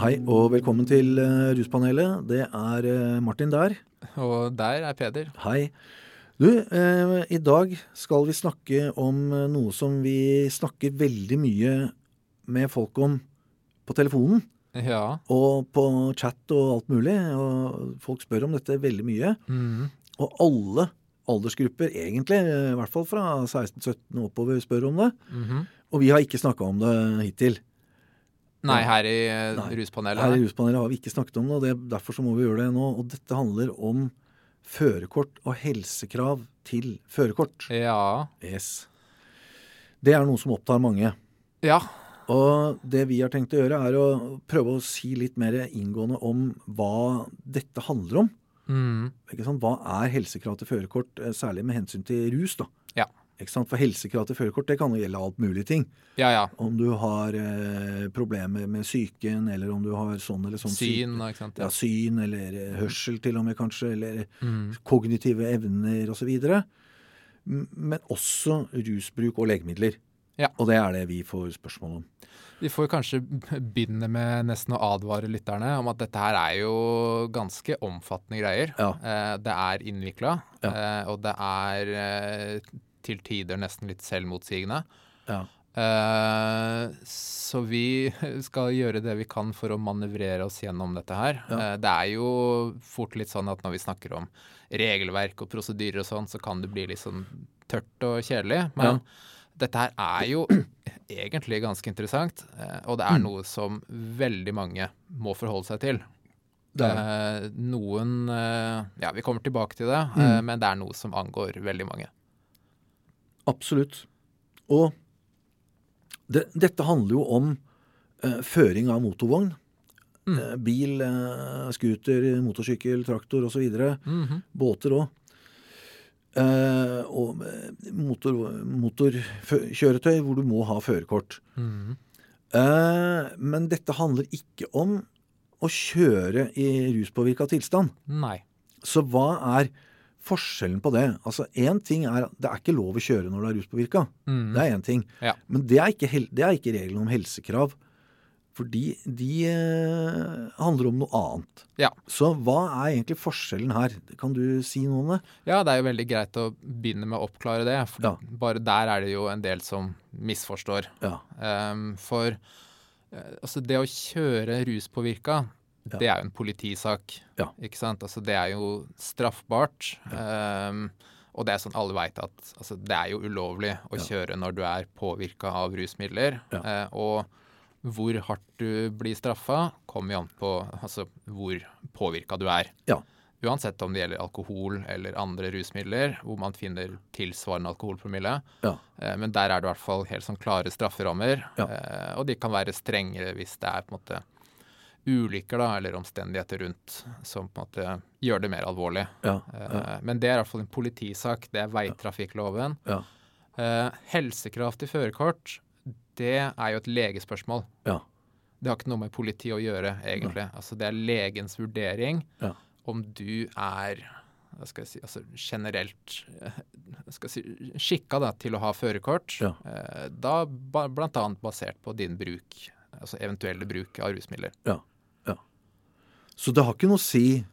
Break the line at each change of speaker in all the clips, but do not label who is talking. Hei og velkommen til eh, Ruspanelet. Det er eh, Martin der.
Og der er Peder.
Hei. Du, eh, i dag skal vi snakke om eh, noe som vi snakker veldig mye med folk om på telefonen
Ja.
og på chat og alt mulig. Og folk spør om dette veldig mye.
Mm.
Og alle aldersgrupper, egentlig, eh, i hvert fall fra 16-17 og oppover, spør om det.
Mhm.
Og vi har ikke snakka om det hittil.
Nei, her i eh,
Nei.
ruspanelet.
Her i
nei.
Ruspanelet har vi ikke snakket om det, og det, derfor så må vi gjøre det nå. Og dette handler om førerkort og helsekrav til førerkort.
Ja.
Yes. Det er noe som opptar mange.
ja.
Og det vi har tenkt å gjøre, er å prøve å si litt mer inngående om hva dette handler om.
Mm.
Ikke sant? Hva er helsekrav til førerkort, eh, særlig med hensyn til rus, da?
Ja.
Ikke sant? For helsekrav til førerkort det kan jo gjelde alt mulig ting.
Ja, ja.
Om du har eh, problemer med psyken, eller om du har sånn eller sånn syke-
Syn, ikke sant.
ja, syn eller eh, hørsel til og med kanskje, eller
Mm.
kognitive evner osv. Men også rusbruk og legemidler.
Ja.
Og det er det vi får spørsmål om.
Vi får kanskje begynne med nesten å advare lytterne om at dette her er jo ganske omfattende greier.
Ja.
Eh, Det er innvikla,
Ja.
eh, og det er eh, til tider nesten litt selvmotsigende.
Ja.
Eh, Så vi skal gjøre det vi kan for å manøvrere oss gjennom dette her.
Ja.
Eh, Det er jo fort litt sånn at når vi snakker om regelverk og prosedyrer og sånn, så kan det bli litt sånn tørt og kjedelig. Men
Ja.
dette her er jo egentlig ganske interessant, eh, og det
Mm.
er noe som veldig mange må forholde seg til.
Det er det.
Eh, Noen eh, Ja, vi kommer tilbake til det,
Mm.
eh, men det er noe som angår veldig mange.
Absolutt. Og det, dette handler jo om eh, føring av motorvogn.
Mm.
Eh, bil, eh, scooter, motorsykkel, traktor osv. Mm-hmm.
Mhm.
Båter òg. Eh, og eh, motor, motorkjøretøy hvor du må ha førerkort. Mm-hmm.
Mhm.
Eh, Men dette handler ikke om å kjøre i ruspåvirka tilstand.
Nei.
Så hva er forskjellen på det? Altså, Én ting er at det er ikke lov å kjøre når du er ruspåvirka.
Mhm.
Det er én ting.
Ja.
Men det er, ikke, hel- det er ikke reglene om helsekrav. Fordi de eh, handler om noe annet.
Ja.
Så hva er egentlig forskjellen her? Kan du si noe om det?
Ja, det er jo veldig greit å begynne med å oppklare det. For
Ja.
Bare der er det jo en del som misforstår.
Ja.
Ehm, for eh, altså det å kjøre ruspåvirka,
Ja.
det er jo en politisak.
Ja.
Ikke sant? Altså det er jo straffbart. ehm, og det er sånn alle veit at altså det er jo ulovlig å
Ja.
kjøre når du er påvirka av rusmidler.
Ja.
Eh, og hvor hardt du blir straffa, kommer jo an på altså, hvor påvirka du er.
Ja.
Uansett om det gjelder alkohol eller andre rusmidler, hvor man finner tilsvarende alkoholpromille.
Ja.
Eh, Men der er det i hvert fall helt sånn klare strafferammer,
Ja.
eh, og de kan være strengere hvis det er på en måte ulykker da, eller omstendigheter rundt som på en måte gjør det mer alvorlig.
Ja.
Eh,
Ja.
Men det er i hvert fall en politisak, det er veitrafikkloven.
Ja.
Eh, Helsekrav til førerkort, det er jo et legespørsmål.
Ja.
Det har ikke noe med politi å gjøre, egentlig. Altså, det er legens vurdering
Ja.
om du er hva skal jeg si, altså generelt eh, hva skal jeg si, skikka da, til å ha førerkort.
Ja.
eh, Da ba- blant annet basert på din bruk, altså eventuelle bruk av rusmidler.
Så det har ikke noe å si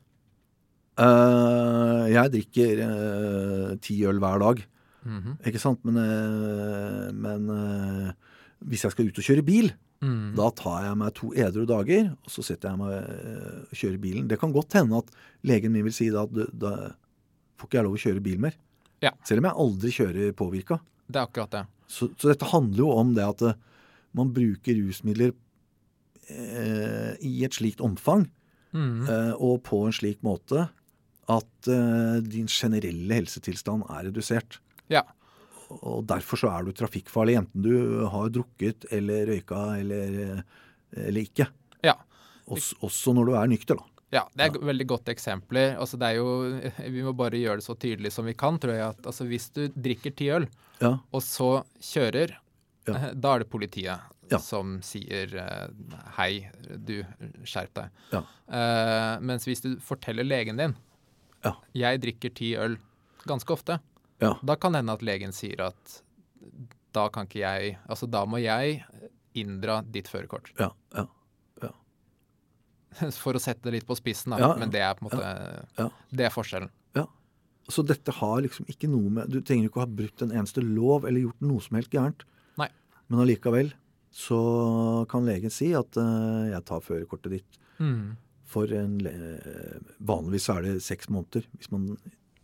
eh, Jeg drikker eh, ti øl hver dag.
Mhm.
Ikke sant? Men, eh, men eh, hvis jeg skal ut og kjøre bil,
Mm.
da tar jeg meg to edru dager, og så setter jeg meg eh, og kjører bilen. Det kan godt hende at legen min vil si da at du- da får ikke jeg lov å kjøre bil mer.
Ja.
Selv om jeg aldri kjører påvirka.
Det er akkurat det.
Så, så dette handler jo om det at eh, man bruker rusmidler eh, i et slikt omfang
Mhm.
eh, og på en slik måte at eh, din generelle helsetilstand er redusert.
Ja.
Og derfor så er du trafikkfarlig, enten du har drukket eller røyka eller, eh, eller ikke.
Ja.
Også, også når du er nykter, da.
Ja, det er veldig godt eksempler. Altså, det er jo, vi må bare gjøre det så tydelig som vi kan, tror jeg. At, altså, hvis du drikker ti øl,
Ja,
og så kjører,
Ja.
eh, da er det politiet
Ja.
som sier eh, hei, du, skjerp deg.
Ja.
Eh, mens hvis du forteller legen din,
Ja.
jeg drikker ti øl ganske ofte,
Ja.
da kan det hende at legen sier at da kan ikke jeg, altså da må jeg inndra ditt førerkort.
ja, ja, ja.
For å sette det litt på spissen, da.
Ja, ja.
Men det er på en måte
Ja.
Det er forskjellen.
Så dette har liksom ikke noe med Du trenger ikke å ha brutt en eneste lov eller gjort noe som helst gærent.
Nei.
Men allikevel så kan legen si at eh, jeg tar førerkortet ditt for en le- eh, Vanligvis så er det seks måneder. Hvis man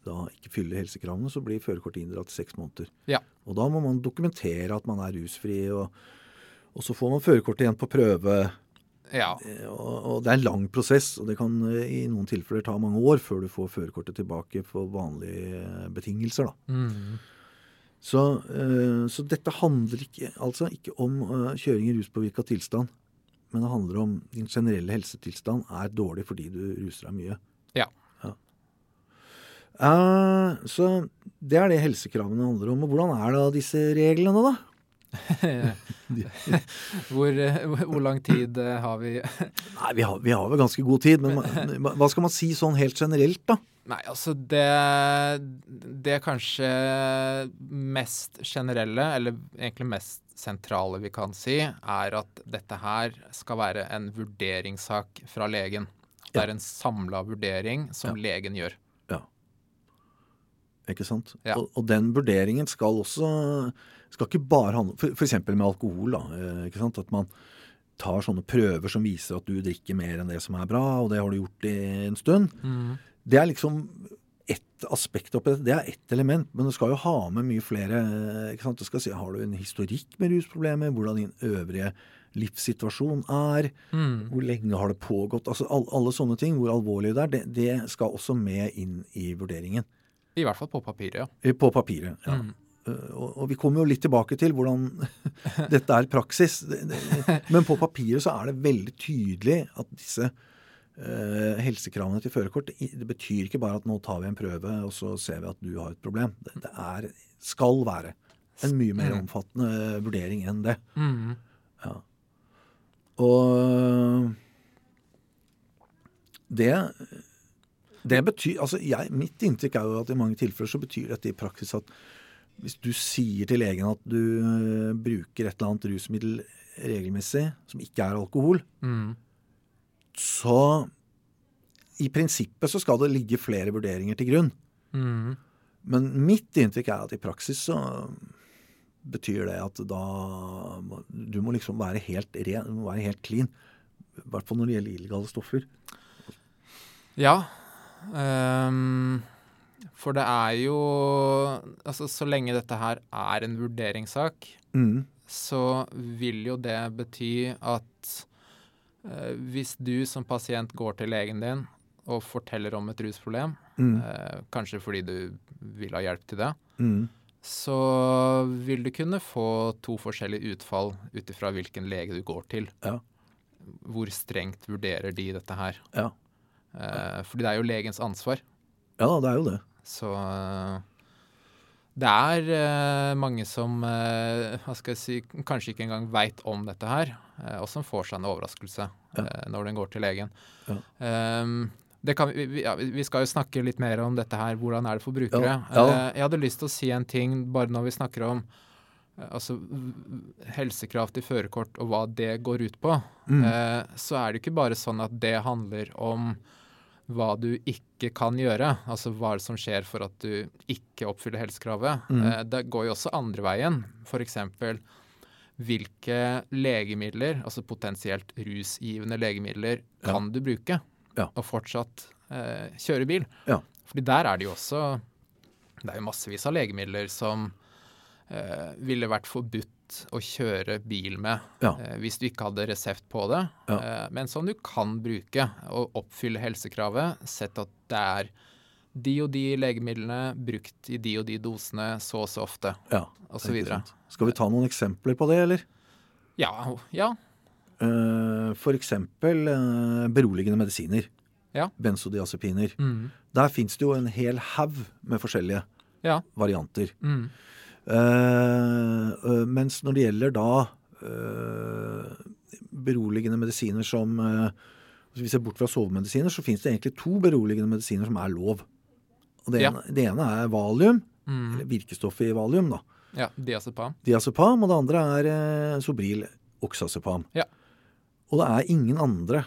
da ikke fyller helsekravene, så blir førerkortet inndratt i seks måneder.
Ja.
Og da må man dokumentere at man er rusfri, og, og så får man førerkortet igjen på prøve.
Ja.
Eh, Og, og det er en lang prosess, og det kan eh, i noen tilfeller ta mange år før du får førerkortet tilbake på vanlige eh, betingelser. da.
Mm.
Så, eh, så dette handler ikke, altså ikke om eh, kjøring i ruspåvirka tilstand, men det handler om din generelle helsetilstand er dårlig fordi du ruser deg mye.
Ja.
Eh, så det er det helsekravene handler om. Og hvordan er da disse reglene, da?
hvor, eh, hvor lang tid eh, har vi
Nei, Vi har, vi har vel ganske god tid, men hva- hva skal man si sånn helt generelt, da?
Nei, altså det Det kanskje mest generelle, eller egentlig mest sentrale vi kan si, er at dette her skal være en vurderingssak fra legen. Det
Ja.
er en samla vurdering som legen gjør.
Ikke sant?
Ja.
Og, og den vurderingen skal også skal ikke bare handle for, for eksempel med alkohol. da, eh, ikke sant? At man tar sånne prøver som viser at du drikker mer enn det som er bra, og det har du gjort i en stund. Det er liksom ett aspekt oppi det. Det er ett element, men du skal jo ha med mye flere. eh, ikke sant? Du skal si, Har du en historikk med rusproblemer? Hvordan din øvrige livssituasjon er?
Mm.
Hvor lenge har det pågått? altså all, Alle sånne ting, hvor alvorlig det er, det, det skal også med inn i vurderingen.
I hvert fall på papiret, ja.
Eh, På papiret, ja.
Mm.
Eh, Og, og vi kommer jo litt tilbake til hvordan dette er praksis. Det- det- Men på papiret så er det veldig tydelig at disse eh, helsekravene til førerkort i- Det betyr ikke bare at nå tar vi en prøve, og så ser vi at du har et problem. Det, det er, skal være en mye mer
Mm.
omfattende eh, vurdering enn det.
Mm.
Og det det betyr, altså jeg, Mitt inntrykk er jo at i mange tilfeller så betyr dette i praksis at hvis du sier til legen at du øh, bruker et eller annet rusmiddel regelmessig som ikke er alkohol,
Mm.
så i prinsippet så skal det ligge flere vurderinger til grunn.
Mm.
Men mitt inntrykk er at i praksis så betyr det at da må- Du må liksom være helt ren, du må være helt clean. I hvert fall når det gjelder illegale stoffer.
Ja. ehm, for det er jo Altså, så lenge dette her er en vurderingssak,
Mm.
så vil jo det bety at eh, hvis du som pasient går til legen din og forteller om et rusproblem,
Mm.
eh, kanskje fordi du vil ha hjelp til det,
Mm.
så vil du kunne få to forskjellige utfall ut ifra hvilken lege du går til.
Ja.
Hvor strengt vurderer de dette her?
Ja.
Eh, fordi det er jo legens ansvar.
ja da, det er jo det.
Så eh, det er eh, mange som eh, hva skal jeg si, kanskje ikke engang veit om dette her, eh, og som får seg en overraskelse
Ja.
eh, når den går til legen.
Ja.
Ehm, det kan, vi, vi- ja, vi vi skal jo snakke litt mer om dette her, hvordan er det for brukere.
Ja, ja.
Eh, jeg hadde lyst til å si en ting bare når vi snakker om eh, altså, helsekrav til førerkort og hva det går ut på.
Mm.
Eh, så er det ikke bare sånn at det handler om hva du ikke kan gjøre, altså hva er det som skjer for at du ikke oppfyller helsekravet.
Mm.
Eh, Det går jo også andre veien, f.eks. hvilke legemidler, altså potensielt rusgivende legemidler,
Ja.
kan du bruke
Ja.
og fortsatt eh, kjøre bil?
Ja.
Fordi der er det jo også Det er jo massevis av legemidler som eh, ville vært forbudt å kjøre bil med
Ja.
eh, hvis du ikke hadde resept på det,
Ja.
eh, men som du kan bruke og oppfylle helsekravet, sett at det er de og de legemidlene brukt i de og de dosene så og så ofte,
ja.
osv.
Ikke sant. Skal vi ta noen eksempler på det, eller?
Ja, ja.
Eh, For eksempel eh, beroligende medisiner.
Ja.
Benzodiazepiner.
Mm,
Der fins det jo en hel haug med forskjellige
ja.
varianter.
Mm,
Eh, eh, mens når det gjelder da eh, beroligende medisiner som eh, Hvis vi ser bort fra sovemedisiner, så fins det egentlig to beroligende medisiner som er lov. Og det,
Ja.
ene, det ene er valium,
mm.
eller virkestoffet i valium, da.
Ja, diazepam.
Diazepam, og det andre er eh, Sobril oxazepam.
Ja.
Og det er ingen andre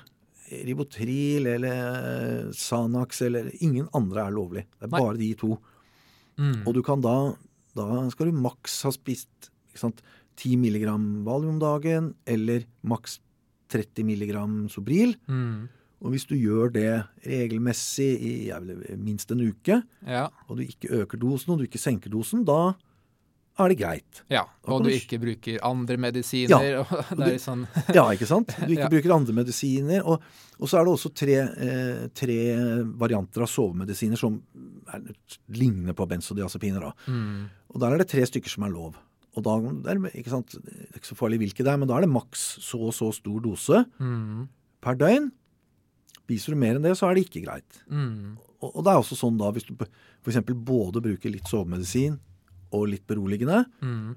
Ribotril eller Sanax eller Ingen andre er lovlig. Det er
Nei.
bare de to.
Mm.
Og du kan da Da skal du maks ha spist ikke sant, 10 milligram valium om dagen eller maks 30 milligram Sobril.
Mm.
Og hvis du gjør det regelmessig i jeg vil, minst en uke,
Ja.
og du ikke øker dosen og du ikke senker dosen, da er det greit.
ja.
Da
Og
kan
du
du-
ikke bruker andre medisiner. Og det
du-
er litt sånn
Ja, ikke sant? Du ikke
Ja.
bruker andre medisiner. Og, og så er det også tre, eh, tre varianter av sovemedisiner som er, ligner på benzodiazepiner. Da.
mm.
Og der er det tre stykker som er lov. Og da, det, er, ikke sant? det er ikke så farlig hvilke det er, men da er det maks så og så stor dose
Mm.
per døgn. Spiser du mer enn det, så er det ikke greit.
Mm.
Og, og det er også sånn da, hvis du f.eks. både bruker litt sovemedisin og litt beroligende,
Mm.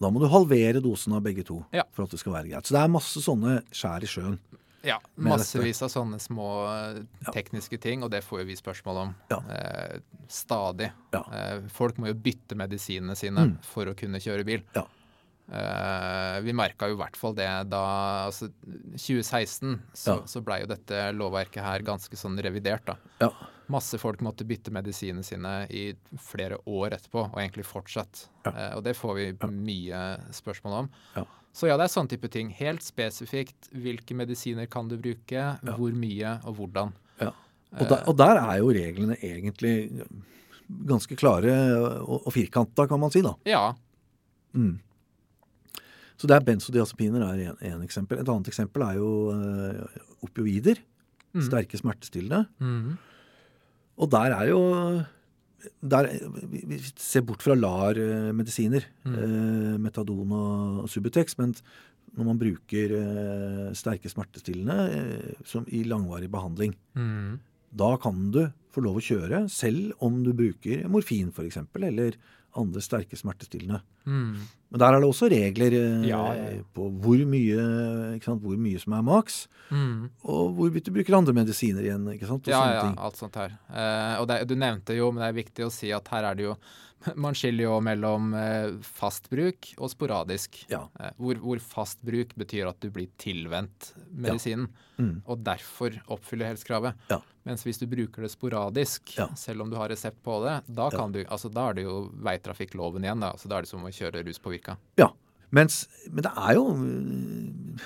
da må du halvere dosen av begge to
Ja.
for at det skal være greit. Så det er masse sånne skjær i sjøen.
Ja,
med
massevis av sånne små eh,
Ja.
tekniske ting, og det får jo vi spørsmål om
Ja.
eh, stadig.
Ja.
Eh, folk må jo bytte medisinene sine
Mm.
for å kunne kjøre bil.
Ja.
Eh, vi merka jo i hvert fall det da altså 2016 så,
Ja.
så blei jo dette lovverket her ganske sånn revidert, da.
Ja.
Masse folk måtte bytte medisinene sine i flere år etterpå, og egentlig fortsatt.
Ja.
Eh, og det får vi mye spørsmål om.
Ja.
Så ja, det er sånne type ting. Helt spesifikt hvilke medisiner kan du bruke, hvor mmye og hvordan.
Og der, og der er jo reglene egentlig ganske klare og, og firkanta, kan man si. da.
Ja.
Mm. Så det er benzodiazepiner er en, en eksempel. Et annet eksempel er jo eh, opioider.
Mm.
Sterke smertestillende.
Mhm.
Og der er jo der, vi- vi ser bort fra LAR-medisiner, eh, metadon og Subutex, men når man bruker eh, sterke smertestillende eh, som i langvarig behandling,
Mhm.
da kan du få lov å kjøre selv om du bruker morfin f.eks. eller andre sterke smertestillende.
Mhm.
Men der er det også regler eh,
Ja, ja, ja.
på hvor mye, ikke sant, hvor mye som er maks,
Mhm.
og hvorvidt du bruker andre medisiner igjen. ikke sant? Og
Ja,
sånne
ja,
ting.
alt sånt her. Eh, og det, du nevnte jo, men det er viktig å si at her er det jo Man skiller jo mellom eh, fast bruk og sporadisk.
Ja.
Eh, hvor, hvor fast bruk betyr at du blir tilvendt medisinen.
Mm.
og derfor oppfyller helsekravet.
Ja.
Mens hvis du bruker det sporadisk,
Ja.
selv om du har resept på det, da,
Ja.
kan du, altså, da er det jo veitrafikkloven igjen. Da, altså, da er det som å kjøre ruspåvirka.
Ja. Mens, men det er jo øh,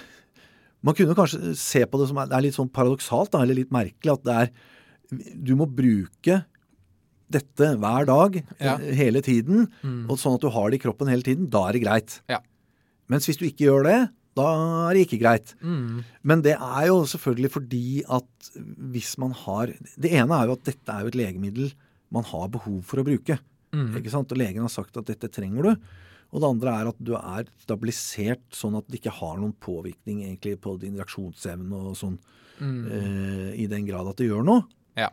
Man kunne kanskje se på det som er, det er litt sånn paradoksalt, da, eller litt merkelig, at det er Du må bruke dette hver dag,
Ja. Mm.
eh, hele tiden, og sånn at du har det i kroppen hele tiden. Da er det greit.
Ja.
Mens hvis du ikke gjør det, da er det ikke greit. Men det er jo selvfølgelig fordi at hvis man har Det ene er jo at dette er jo et legemiddel man har behov for å bruke. Ikke sant? Og legen har sagt at dette trenger du. Og det andre er at du er stabilisert sånn at det ikke har noen påvirkning egentlig på din reaksjonsevne og sånn,
Mm.
eh, i den grad at det gjør noe.
Ja.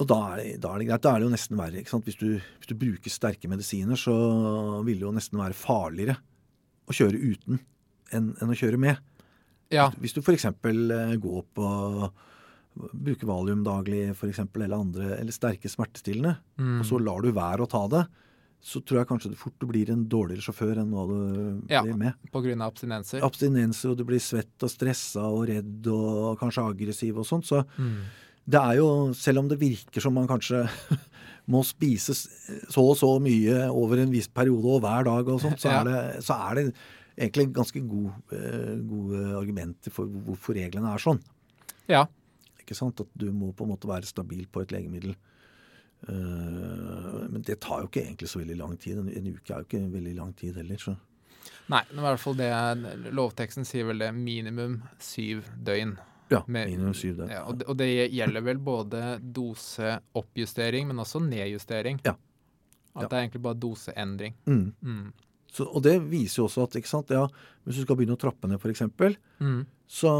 Og da er, det, da er det greit. Da er det jo nesten verre. ikke sant? Hvis du, hvis du bruker sterke medisiner, så vil det jo nesten være farligere å kjøre uten enn, enn å kjøre med.
Ja.
Hvis du f.eks. går på Bruker valium daglig for eksempel, eller andre, eller sterke smertestillende,
Mm.
og så lar du være å ta det, så tror jeg kanskje det fort du blir en dårligere sjåfør enn hva du
Ja.
blir med.
På grunn av abstinenser.
Abstinenser, og du blir svett og stressa og redd og kanskje aggressiv og sånt. Så
Mm.
det er jo, selv om det virker som man kanskje må spise så og så mye over en viss periode og hver dag og sånt, så
Ja.
er det, så er det egentlig ganske god, eh, gode argumenter for hvorfor reglene er sånn.
Ja.
Ikke sant? At du må på en måte være stabil på et legemiddel. Eh, Men det tar jo ikke egentlig så veldig lang tid. En, en uke er jo ikke veldig lang tid heller. Så.
Nei, men i hvert fall det Lovteksten sier vel det minimum syv døgn.
Ja,
Men-
minimum syv døgn.
Ja, og, det, og det gjelder vel både doseoppjustering, men også nedjustering.
Ja.
At
Ja.
det er egentlig bare doseendring.
Mm.
Mm.
Så, og det viser jo også at ikke sant? Ja, hvis du skal begynne å trappe ned, f.eks.,
Mm.
så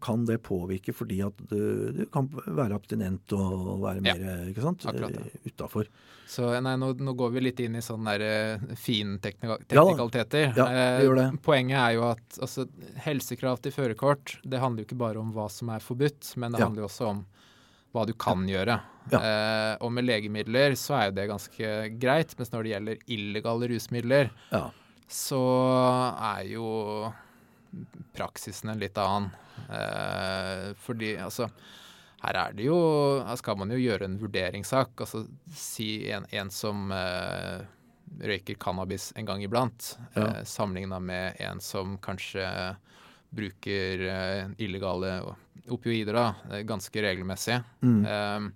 kan det påvirke fordi at du, du kan være abstinent og være
Ja,
mer ikke sant? Eh,
akkurat det.
utafor.
Så eh, nei, nå, nå går vi litt inn i sånne der, eh, fine teknika-
Ja da.
teknikaliteter. Eh,
Ja, vi gjør det.
Poenget er jo at altså, helsekrav til førerkort, det handler jo ikke bare om hva som er forbudt, men det
Ja.
handler jo også om hva du kan gjøre.
Ja.
Eh, og med legemidler så er jo det ganske greit, mens når det gjelder illegale rusmidler,
Ja.
så er jo praksisen en litt annen. Eh, fordi altså her er det jo, her skal man jo gjøre en vurderingssak. altså Si en, en som eh, røyker cannabis en gang iblant,
Ja.
eh, sammenligna med en som kanskje bruker eh, illegale opioider da, eh, ganske regelmessig.
Mm.
Eh,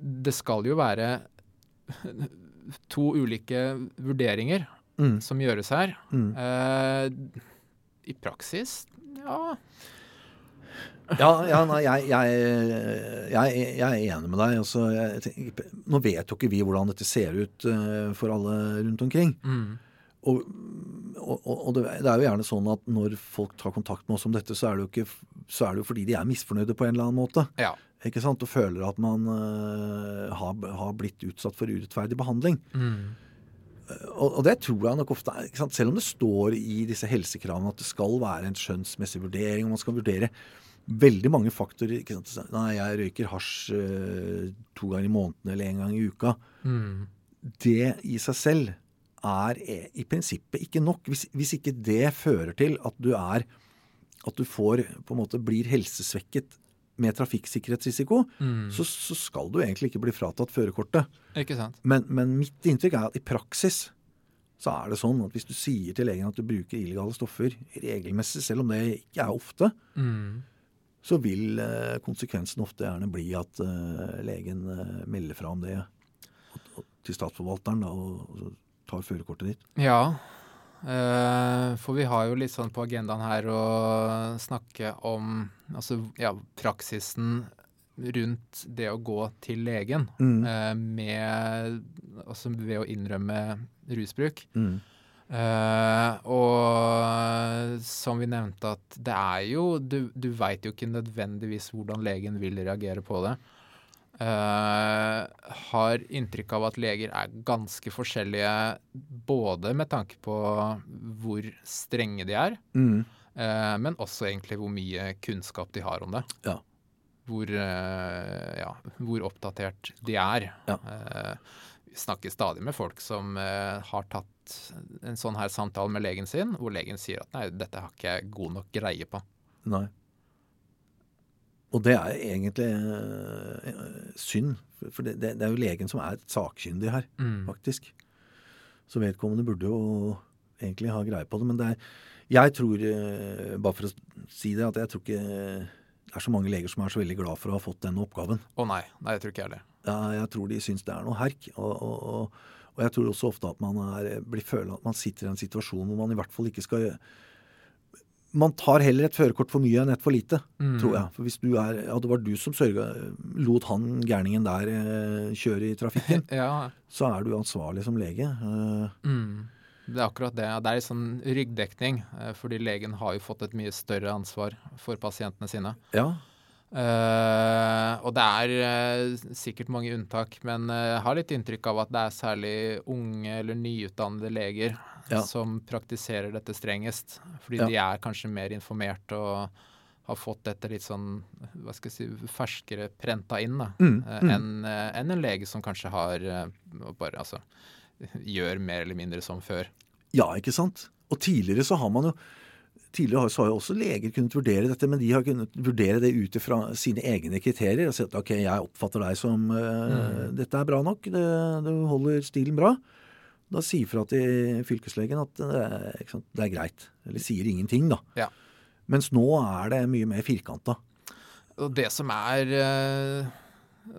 det skal jo være to ulike vurderinger
Mm.
som gjøres her.
Mm.
Eh, I praksis, ja
Ja, ja nei, jeg, jeg, jeg, jeg er enig med deg. Altså, jeg, tenker- nå vet jo ikke vi hvordan dette ser ut eh, for alle rundt omkring.
mm.
Og, og, og det det er jo gjerne sånn at når folk tar kontakt med oss om dette, så er det jo, ikke, så er det jo fordi de er misfornøyde på en eller annen måte.
Ja.
Ikke sant? Og føler at man eh, har, har blitt utsatt for urettferdig behandling.
Mm.
Og, og det tror jeg nok ofte er ikke sant? Selv om det står i disse helsekravene at det skal være en skjønnsmessig vurdering, og man skal vurdere veldig mange faktorer ikke sant? Så, Nei, jeg røyker hasj eh, to ganger i måneden eller én gang i uka.
Mm.
Det i seg selv er e- i prinsippet ikke nok. Hvis, hvis ikke det fører til at du er At du får på en måte blir helsesvekket med trafikksikkerhetsrisiko,
Mm.
så, så skal du egentlig ikke bli fratatt førerkortet.
Ikke sant.
Men, men mitt inntrykk er at i praksis så er det sånn at hvis du sier til legen at du bruker illegale stoffer regelmessig, selv om det ikke er ofte,
Mm.
så vil eh, konsekvensen ofte gjerne bli at eh, legen eh, melder fra om det og- og til statsforvalteren da, og, og tar førerkortet ditt.
Ja. eh, for vi har jo litt sånn på agendaen her å snakke om altså, ja, praksisen rundt det å gå til legen
Mm.
eh, med Altså ved å innrømme rusbruk.
Mm.
Eh, og som vi nevnte, at det er jo Du, du veit jo ikke nødvendigvis hvordan legen vil reagere på det. Eh, har inntrykk av at leger er ganske forskjellige både med tanke på hvor strenge de er,
Mm.
eh, men også egentlig hvor mye kunnskap de har om det.
Ja.
Hvor, eh, ja, hvor oppdatert de er.
Ja.
Eh, vi snakker stadig med folk som eh, har tatt en sånn her samtale med legen sin, hvor legen sier at nei, dette har ikke jeg god nok greie på.
Nei. Og det er egentlig eh, eh, synd, for- for det, det, det er jo legen som er sakkyndig her.
Mm.
faktisk. Så vedkommende burde jo egentlig ha greie på det. Men det er, jeg tror, eh, bare for å si det, at jeg tror ikke det er så mange leger som er så veldig glad for å ha fått denne oppgaven.
Å nei, nei, jeg tror ikke jeg det.
Ja, Jeg tror de syns det er noe herk. Og, og, og, og jeg tror også ofte at man er, blir føler at man sitter i en situasjon hvor man i hvert fall ikke skal Man tar heller et førerkort for mye enn et for lite,
Mm.
tror jeg. For hvis du er Ja, det var du som sørga Lot han gærningen der eh, kjøre i trafikken,
Ja,
så er du ansvarlig som lege. Eh,
mm. Det er akkurat det. Det er en sånn ryggdekning, eh, fordi legen har jo fått et mye større ansvar for pasientene sine.
Ja.
Eh, og det er eh, sikkert mange unntak, men eh, jeg har litt inntrykk av at det er særlig unge eller nyutdannede leger
Ja.
som praktiserer dette strengest. Fordi
Ja.
de er kanskje mer informert og har fått dette litt sånn hva skal jeg si, ferskere prenta inn da,
Mm,
eh,
mm.
enn eh, enn en lege som kanskje har eh, bare altså gjør mer eller mindre som før.
Ja, ikke sant? Og tidligere så har man jo Tidligere har- så har jo også leger kunnet vurdere dette, men de har kunnet vurdere det ut fra sine egne kriterier. og si at ok, jeg oppfatter deg som eh, Dette er bra nok. Det, du holder stilen bra. Da sier fra til fylkeslegen at eh, ikke sant, det er greit. Eller sier ingenting, da.
Ja.
Mens nå er det mye mer firkanta.
Og det som er eh,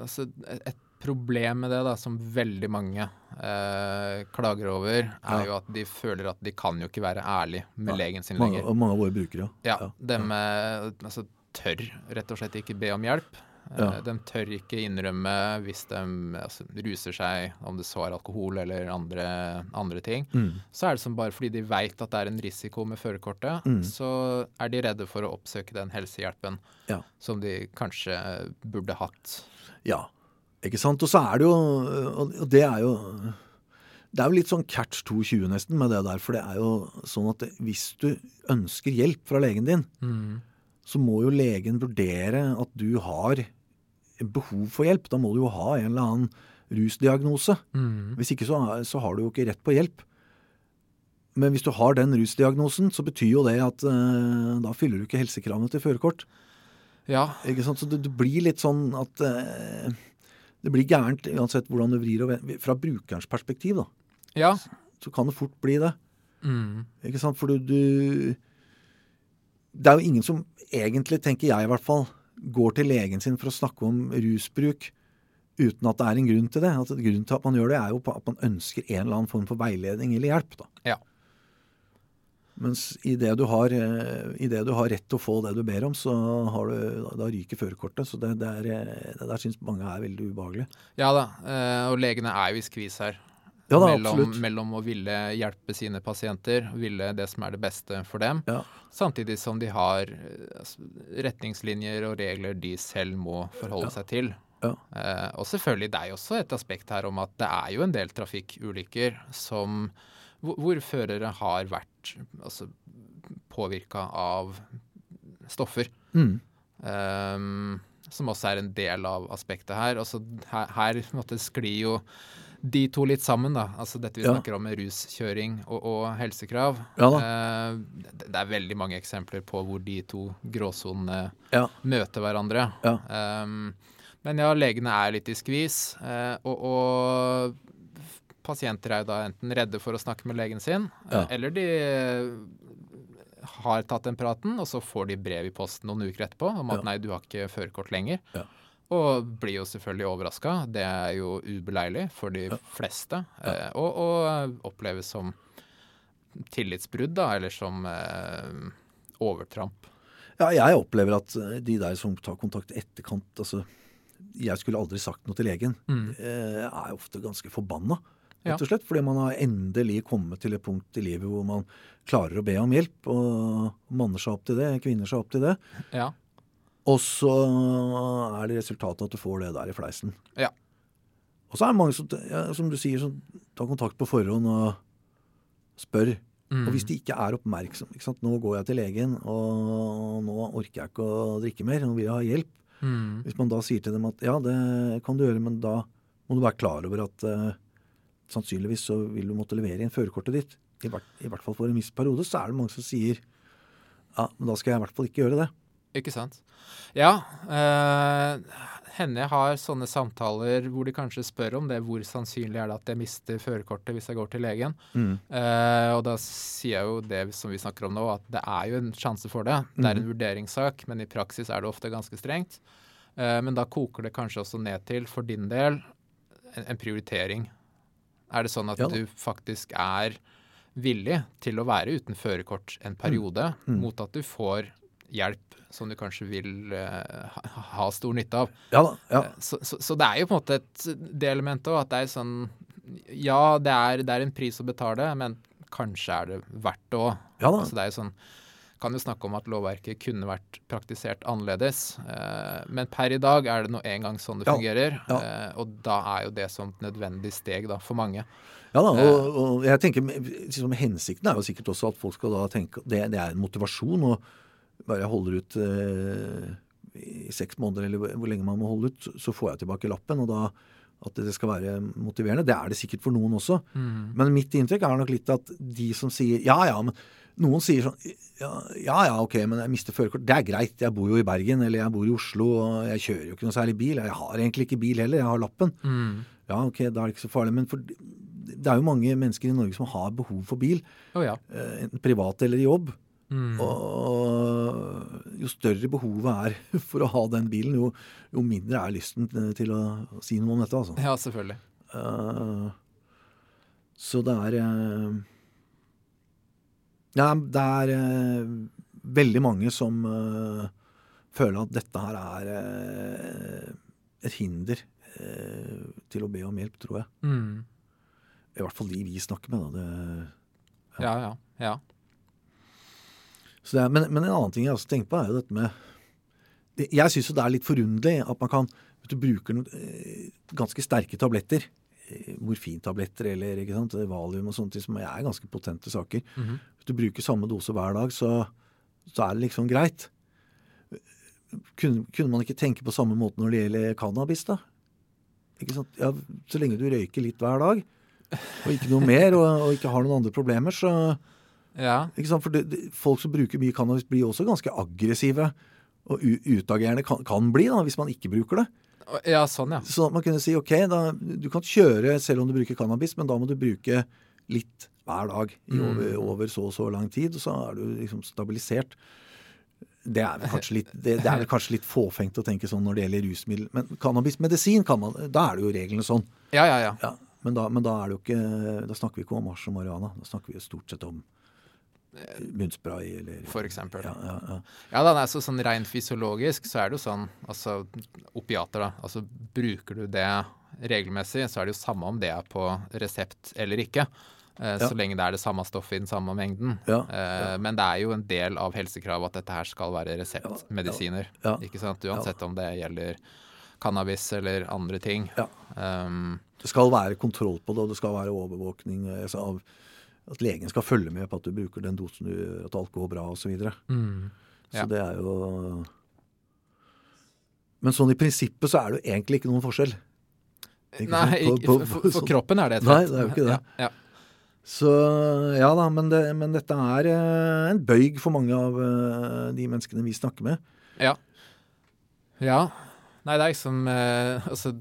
altså et- et problem med det, da, som veldig mange eh, klager over, er
Ja.
jo at de føler at de kan jo ikke være ærlig med
Nei,
legen sin
Mange,
lenger.
og mange av våre brukere.
Ja, De eh, altså, tør rett og slett ikke be om hjelp. Eh,
Ja.
De tør ikke innrømme hvis de altså, ruser seg, om det så er alkohol eller andre, andre ting.
Mm.
Så er det som bare fordi de veit at det er en risiko med førerkortet,
Mm.
så er de redde for å oppsøke den helsehjelpen
Ja.
som de kanskje burde hatt.
Ja, ikke sant? Og så er det jo Og og det er jo Det er jo litt sånn catch 22 nesten med det der, for det er jo sånn at det, hvis du ønsker hjelp fra legen din, så må jo legen vurdere at du har behov for hjelp. Da må du jo ha en eller Mm. annen rusdiagnose. Hvis ikke så, så har du jo ikke rett på hjelp. Men hvis du har den rusdiagnosen, så betyr jo det at eh, da fyller du ikke helsekravene til førerkort.
Ja,
Ikke sant? Så det, det blir litt sånn at eh, Det blir gærent uansett hvordan du vrir og vender. Fra brukerens perspektiv, da,
ja.
så kan det fort bli det.
Mm.
Ikke sant? For du, du Det er jo ingen som egentlig, tenker jeg i hvert fall, går til legen sin for å snakke om rusbruk uten at det er en grunn til det. At grunnen til at man gjør det, er jo på at man ønsker en eller annen form for veiledning eller hjelp. da.
Ja.
Mens idet du, har, eh, i det du har rett til å få det du ber om, så har du, da, da ryker førerkortet. Så det, det, er, eh, det der syns mange er veldig ubehagelig.
ja da. eh, Og legene er jo i skvis her.
Ja da,
mellom,
absolutt.
mellom å ville hjelpe sine pasienter, ville det som er det beste for dem,
Ja.
samtidig som de har eh, altså, retningslinjer og regler de selv må forholde seg til.
Ja.
Eh, og selvfølgelig, det er jo også et aspekt her om at det er jo en del trafikkulykker som hvor, hvor førere har vært altså, påvirka av stoffer.
Mm.
Ehm, som også er en del av aspektet her. Altså, her, her på en måte, sklir jo de to litt sammen, da. Altså dette vi
Ja.
snakker om med ruskjøring og, og helsekrav.
Ja
Ehm, det, det er veldig mange eksempler på hvor de to gråsonene
Ja.
møter hverandre.
Ja.
Ehm, men ja, legene er litt i skvis, eh, og, og pasienter er jo da enten redde for å snakke med legen sin,
Ja.
eh, eller de eh, har tatt den praten, og så får de brev i posten noen uker etterpå om at
Ja.
nei, du har ikke førerkort lenger.
Ja.
Og blir jo selvfølgelig overraska. Det er jo ubeleilig for de fleste. eh, Og, og oppleves som tillitsbrudd, da, eller som eh, overtramp.
Ja, jeg opplever at eh, de der som tar kontakt i etterkant altså, Jeg skulle aldri sagt noe til legen. Eh, er ofte ganske forbanna,
Mm. Ja.
rett og slett. Fordi man har endelig kommet til et punkt i livet hvor man klarer å be om hjelp. Og manner seg opp til det, kvinner seg opp til det.
Ja.
Og så er det resultatet at du får det der i fleisen.
Ja.
Og så er det mange som, ja, som du sier, som tar kontakt på forhånd og spør.
Mm.
Og hvis de ikke er oppmerksomme ikke sant? 'Nå går jeg til legen, og nå orker jeg ikke å drikke mer. Nå vil jeg ha hjelp.'
Mm.
Hvis man da sier til dem at 'ja, det kan du gjøre, men da må du være klar over at eh, sannsynligvis så vil du måtte levere inn førerkortet ditt', I hvert, i hvert fall for en viss periode, så er det mange som sier 'ja, men da skal jeg i hvert fall ikke gjøre det'.
Ikke sant. Ja. Eh, hender jeg har sånne samtaler hvor de kanskje spør om det, hvor sannsynlig er det at jeg mister førerkortet hvis jeg går til legen. Eh, og da sier jeg jo det som vi snakker om nå, at det er jo en sjanse for det.
Mhm.
Det er en vurderingssak, men i praksis er det ofte ganske strengt. Eh, men da koker det kanskje også ned til, for din del, en, en prioritering. Er det sånn at
Ja da.
du faktisk er villig til å være uten førerkort en
Mm.
periode, mot at du får hjelp som du kanskje vil eh, ha, ha stor nytte av?
Ja da. ja.
Eh, så, så, så det er jo på en måte et det elementet òg, at det er sånn Ja, det er, det er en pris å betale, men kanskje er det verdt det òg.
Ja da.
Altså, det er jo sånn Kan jo snakke om at lovverket kunne vært praktisert annerledes, eh, men per i dag er det nå engang sånn det
Ja,
fungerer.
ja.
eh, og da er jo det som et nødvendig steg da, for mange.
Ja da, og, og jeg tenker liksom, Hensikten er jo sikkert også at folk skal da tenke Det, det er en motivasjon å bare jeg holder ut eh, i seks måneder, eller hvor- hvor lenge man må holde ut, så- så får jeg tilbake lappen. og da at det skal være motiverende. Det er det sikkert for noen også. Men mitt inntrykk er nok litt at de som sier ja, ja, men noen sier sånn ja, ja, ja, ok, men jeg mister førerkort. Det er greit, jeg bor jo i Bergen, eller jeg bor i Oslo, og jeg kjører jo ikke noe særlig bil. Jeg har egentlig ikke bil heller, jeg har lappen.
Mm.
Ja, ok, da er det ikke så farlig. Men for, det er jo mange mennesker i Norge som har behov for bil,
Å ja.
eh, enten privat eller i jobb.
Mm.
Og jo større behovet er for å ha den bilen, jo, jo mindre er lysten til å si noe om dette, altså.
Ja, selvfølgelig.
Eh, så det er eh, Ja, det er eh, veldig mange som eh, føler at dette her er eh, et hinder eh, til å be om hjelp, tror jeg.
Mm.
I hvert fall de vi snakker med. Da. Det,
Ja, ja. ja.
så det er, men, men en annen ting jeg også tenker på, er jo dette med det- Jeg syns jo det er litt forunderlig at man kan vet du, bruker noen, eh, ganske sterke tabletter. eh, Morfintabletter eller ikke sant, valium og sånne ting, som er ganske potente saker.
Mhm.
Hvis du bruker samme dose hver dag, så, så er det liksom greit. Kunne, kunne man ikke tenke på samme måte når det gjelder cannabis, da? Ikke sant? Ja, så lenge du røyker litt hver dag, og ikke noe mer, og, og ikke har noen andre problemer, så
Ja.
ikke sant? For det, det, folk som bruker mye cannabis, blir også ganske aggressive. Og u, utagerende kan, kan bli, da, hvis man ikke bruker det.
Og- ja, sånn, ja.
Sånn at man kunne si OK, da, du kan kjøre selv om du bruker cannabis, men da må du bruke litt hver dag i over, over så og så lang tid, og så er du liksom stabilisert. Det er vel kanskje litt, det, det er vel kanskje litt fåfengt å tenke sånn når det gjelder rusmiddel. Men cannabismedisin kan man Da er det jo reglene sånn.
Ja, ja, ja.
Ja, men da, men da er det jo ikke Da snakker vi ikke om hasj og marihuana. Da snakker vi jo stort sett om munnspray eller
For eksempel.
ja, ja, ja.
Ja, da, nei, så sånn rent fysiologisk så er det jo sånn, altså opiater da, altså bruker du det regelmessig, så er det jo samme om det er på resept eller ikke, eh,
Ja.
så lenge det er det samme stoffet i den samme mengden.
Ja,
Eh, Men det er jo en del av helsekravet at dette her skal være reseptmedisiner,
Ja, ja, ja.
ikke sant? Uansett om det gjelder cannabis eller andre ting.
Ja.
Um,
Det skal være kontroll på det, og det skal være overvåkning altså av at legen skal følge med på at du bruker den dosen du gjør, at alt går bra osv. Så, videre. så
ja.
det er jo Men sånn i prinsippet så er det jo egentlig ikke noen forskjell. Ikke sant?
Nei,
På-
ikke-
på-
for,
på-
for, for kroppen er det et
Nei,
fett.
det er jo ikke det.
Ja, ja.
Så ja da, men, det, men dette er eh, en bøyg for mange av eh, de menneskene vi snakker med.
Ja. Ja. Nei, det er liksom eh, Altså,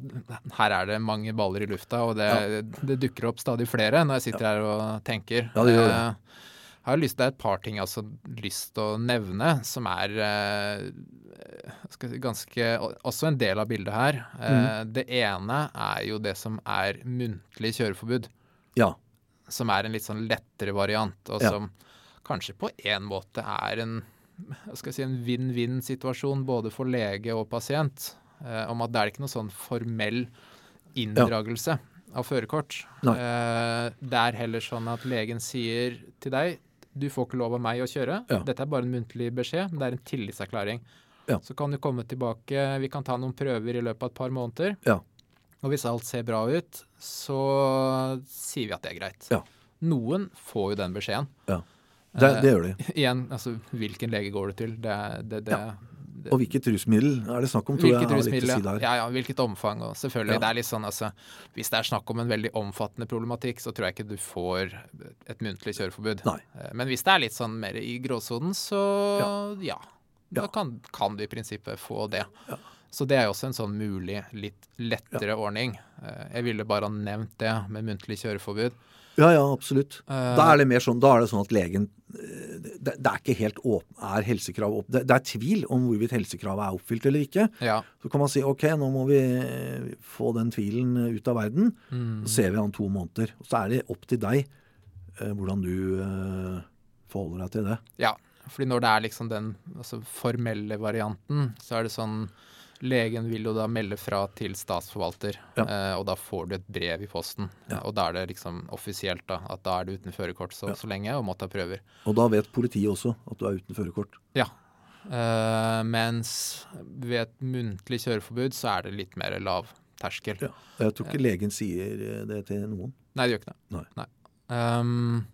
her er det mange baller i lufta, og det, det dukker opp stadig flere når jeg sitter her og tenker.
Ja, det gjør det.
Eh, jeg har lyst, det er et par ting jeg også har lyst til å nevne, som er eh, skal jeg si, ganske Også en del av bildet her. Eh,
Mm.
Det ene er jo det som er muntlig kjøreforbud
Ja.
som er en litt sånn lettere variant, og
Ja.
som kanskje på en måte er en hva skal jeg si, en vinn-vinn-situasjon både for lege og pasient, eh, om at det er ikke noe sånn formell inndragelse av førerkort.
Nei.
Eh, det er heller sånn at legen sier til deg du får ikke lov av meg å kjøre.
Ja.
Dette er bare en muntlig beskjed, men det er en tillitserklæring.
Ja.
Så kan du komme tilbake, vi kan ta noen prøver i løpet av et par måneder.
Ja.
Og hvis alt ser bra ut, så sier vi at det er greit.
Ja.
Noen får jo den beskjeden.
Det,
Eh,
det gjør de.
Igjen, altså hvilken lege går du til? Det, det, det,
Ja. Og hvilket rusmiddel er det snakk om, tror jeg
Hvilket
har litt å
rusmiddel,
si der.
ja, ja, hvilket omfang. Og selvfølgelig,
Ja.
det er litt sånn, altså, Hvis det er snakk om en veldig omfattende problematikk, så tror jeg ikke du får et muntlig kjøreforbud.
Nei.
Eh, Men hvis det er litt sånn mer i gråsonen, så ja. Da
Ja.
kan, kan du i prinsippet få det.
Ja.
Så det er jo også en sånn mulig, litt lettere ordning. Eh, Jeg ville bare ha nevnt det med muntlig kjøreforbud.
Ja, ja, absolutt.
Eh,
Da er det mer sånn, da er det sånn at legen eh, Det, det er ikke helt åpen, er helsekrav opp, det, det er tvil om hvorvidt helsekravet er oppfylt eller ikke.
Ja.
Så kan man si OK, nå må vi eh, få den tvilen eh, ut av verden. Så ser vi an to måneder. Og så er det opp til deg eh, hvordan du eh, forholder deg til det.
ja. Fordi når det er liksom den altså, formelle varianten, så er det sånn Legen vil jo da melde fra til statsforvalter,
Ja.
eh, og da får du et brev i posten.
Ja.
Og da er det liksom offisielt, da, at da er du uten førerkort så,
Ja.
så lenge og må ta prøver.
Og da vet politiet også at du er uten førerkort.
Ja. Eh, mens ved et muntlig kjøreforbud så er det litt mer lav terskel.
Ja. Jeg tror ikke legen sier eh, det til noen.
Nei, det gjør ikke det.
Nei.
Ehm,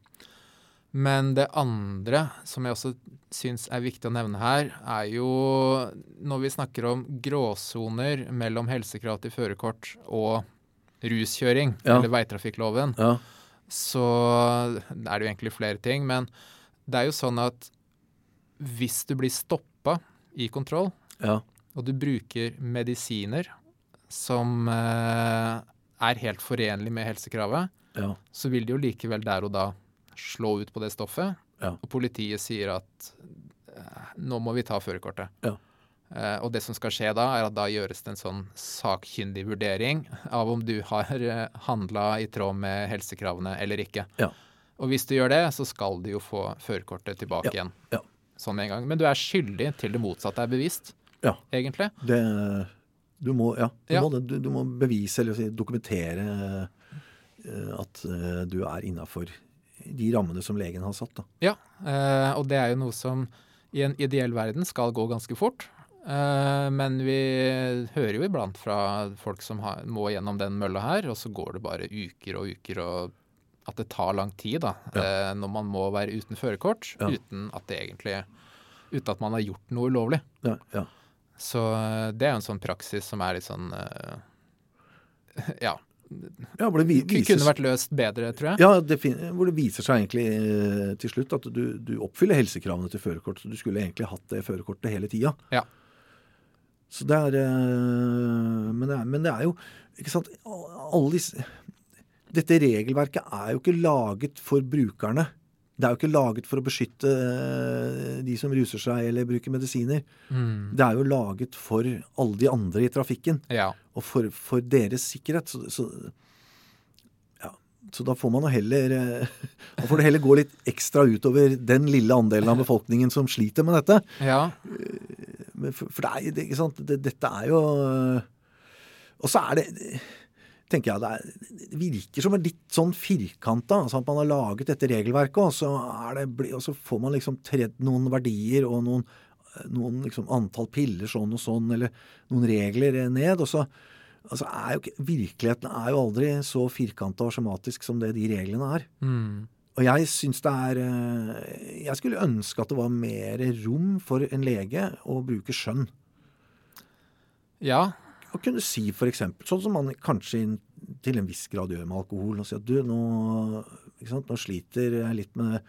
men det andre som jeg også syns er viktig å nevne her, er jo når vi snakker om gråsoner mellom helsekrav til førerkort og ruskjøring,
Ja.
eller veitrafikkloven,
Ja.
så er det jo egentlig flere ting. Men det er jo sånn at hvis du blir stoppa i kontroll,
Ja.
og du bruker medisiner som eh, er helt forenlig med helsekravet,
ja.
så vil de jo likevel der og da slå ut på det stoffet.
Ja.
Og politiet sier at eh, nå må vi ta førerkortet.
Ja.
Eh, og det som skal skje da, er at da gjøres det en sånn sakkyndig vurdering av om du har eh, handla i tråd med helsekravene eller ikke.
Ja.
Og hvis du gjør det, så skal du jo få førerkortet
Ja.
tilbake igjen.
Ja.
Sånn med en gang. Men du er skyldig til det motsatte er bevisst,
ja.
egentlig.
Det, du må, ja, du,
Ja.
Må, det. du, du må bevise eller si, dokumentere eh, at eh, du er innafor de rammene som legen har satt. Da.
Ja, eh, og det er jo noe som i en ideell verden skal gå ganske fort. Eh, men vi hører jo iblant fra folk som har, må gjennom den mølla her, og så går det bare uker og uker og at det tar lang tid da, eh, når man må være uten førerkort,
Ja.
uten at det egentlig uten at man har gjort noe ulovlig.
Ja, ja.
Så eh, det er jo en sånn praksis som er litt sånn eh, Ja.
Ja, hvor det vi-
Ku-
vises-
kunne vært løst bedre, tror jeg.
Ja, defin- hvor det viser seg egentlig eh, til slutt at du, du oppfyller helsekravene til førerkort, så du skulle egentlig hatt det førerkortet hele tida.
Ja.
Så det er, eh, men, det er Men det er jo Ikke sant Alle disse Dette regelverket er jo ikke laget for brukerne. Det er jo ikke laget for å beskytte eh, de som ruser seg eller bruker medisiner.
Mm.
Det er jo laget for alle de andre i trafikken
Ja.
og for, for deres sikkerhet. Så, så, ja, så da får man jo heller eh, Da får det heller gå litt ekstra utover den lille andelen av befolkningen som sliter med dette.
ja.
Eh, Men For, for det er, jo- det, ikke sant? Det, dette er jo eh, Og så er det tenker jeg, det, er, det virker som en litt sånn firkanta. Altså at man har laget dette regelverket, og så, er det, bli- og så får man liksom tredd noen verdier og noen, noen liksom antall piller sånn og sånn, eller noen regler ned. og så altså er jo, ikke- Virkeligheten er jo aldri så firkanta og skjematisk som det de reglene er.
Mm.
Og jeg syns det er eh, Jeg skulle ønske at det var mer rom for en lege å bruke skjønn.
ja.
Å kunne si f.eks. sånn som man kanskje inn- til en viss grad gjør med alkohol. Og si at du, nå, ikke sant, nå sliter jeg litt med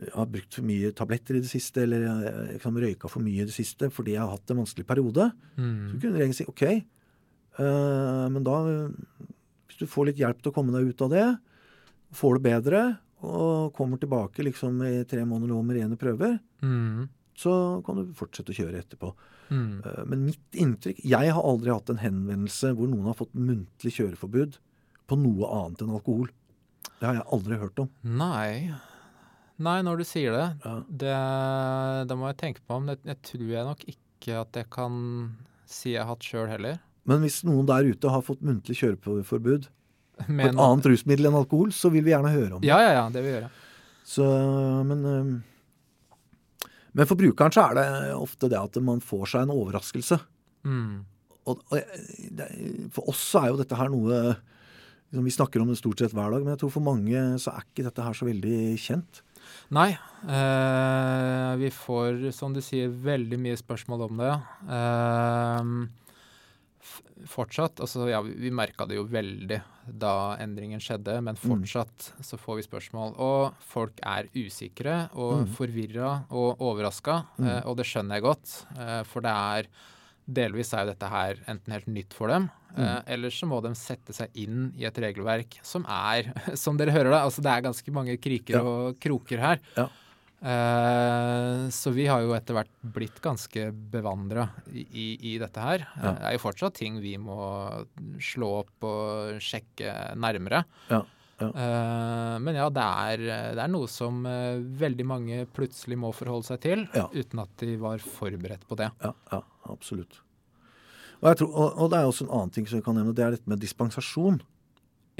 jeg har brukt for mye tabletter i det siste, eller jeg jeg kan røyka for mye i det siste fordi jeg har hatt en vanskelig periode. Så
Mm.
kunne legen si OK, eh, men da eh, Hvis du får litt hjelp til å komme deg ut av det, får det bedre, og kommer tilbake liksom i tre måneder nå med rene prøver,
Mm.
så kan du fortsette å kjøre etterpå.
Mm.
Eh, Men mitt inntrykk Jeg har aldri hatt en henvendelse hvor noen har fått muntlig kjøreforbud på noe annet enn alkohol. Det har jeg aldri hørt om.
Nei. Nei, når du sier det,
Ja.
det Da må jeg tenke på om det. Jeg tror jeg nok ikke at jeg kan si jeg har hatt sjøl heller.
Men hvis noen der ute har fått muntlig kjøreforbud på
Men-
et annet rusmiddel enn alkohol, så vil vi gjerne høre om det.
Ja, ja, ja. Det vil jeg gjøre.
Så, men, øhm, men for brukeren så er det ofte det at man får seg en overraskelse.
Mm.
Og, og jeg- det, for oss så er jo dette her noe liksom, Vi snakker om det stort sett hver dag, men jeg tror for mange så er ikke dette her så veldig kjent.
Nei. eh, vi får, som du sier, veldig mye spørsmål om det. Eh, f- fortsatt Altså, ja, vi, vi merka det jo veldig da endringen skjedde,
Mm.
men fortsatt så får vi spørsmål. Og folk er usikre
Mm.
og forvirra og overraska, eh, og det skjønner jeg godt. eh, for det er Delvis er jo dette her enten helt nytt for dem,
Mm.
eh, eller så må de sette seg inn i et regelverk som er, som dere hører da, altså det er ganske mange
Ja.
kriker og kroker her.
Ja.
Eh, så vi har jo etter hvert blitt ganske bevandra i, i, i dette her.
Ja.
Eh, Det er jo fortsatt ting vi må slå opp og sjekke nærmere.
Ja, ja.
Eh, men ja, det er, det er noe som eh, veldig mange plutselig må forholde seg til,
Ja.
uten at de var forberedt på det.
Ja, ja absolutt. Og, jeg tror, og, og det er også en annen ting som vi kan nevne, det er dette med dispensasjon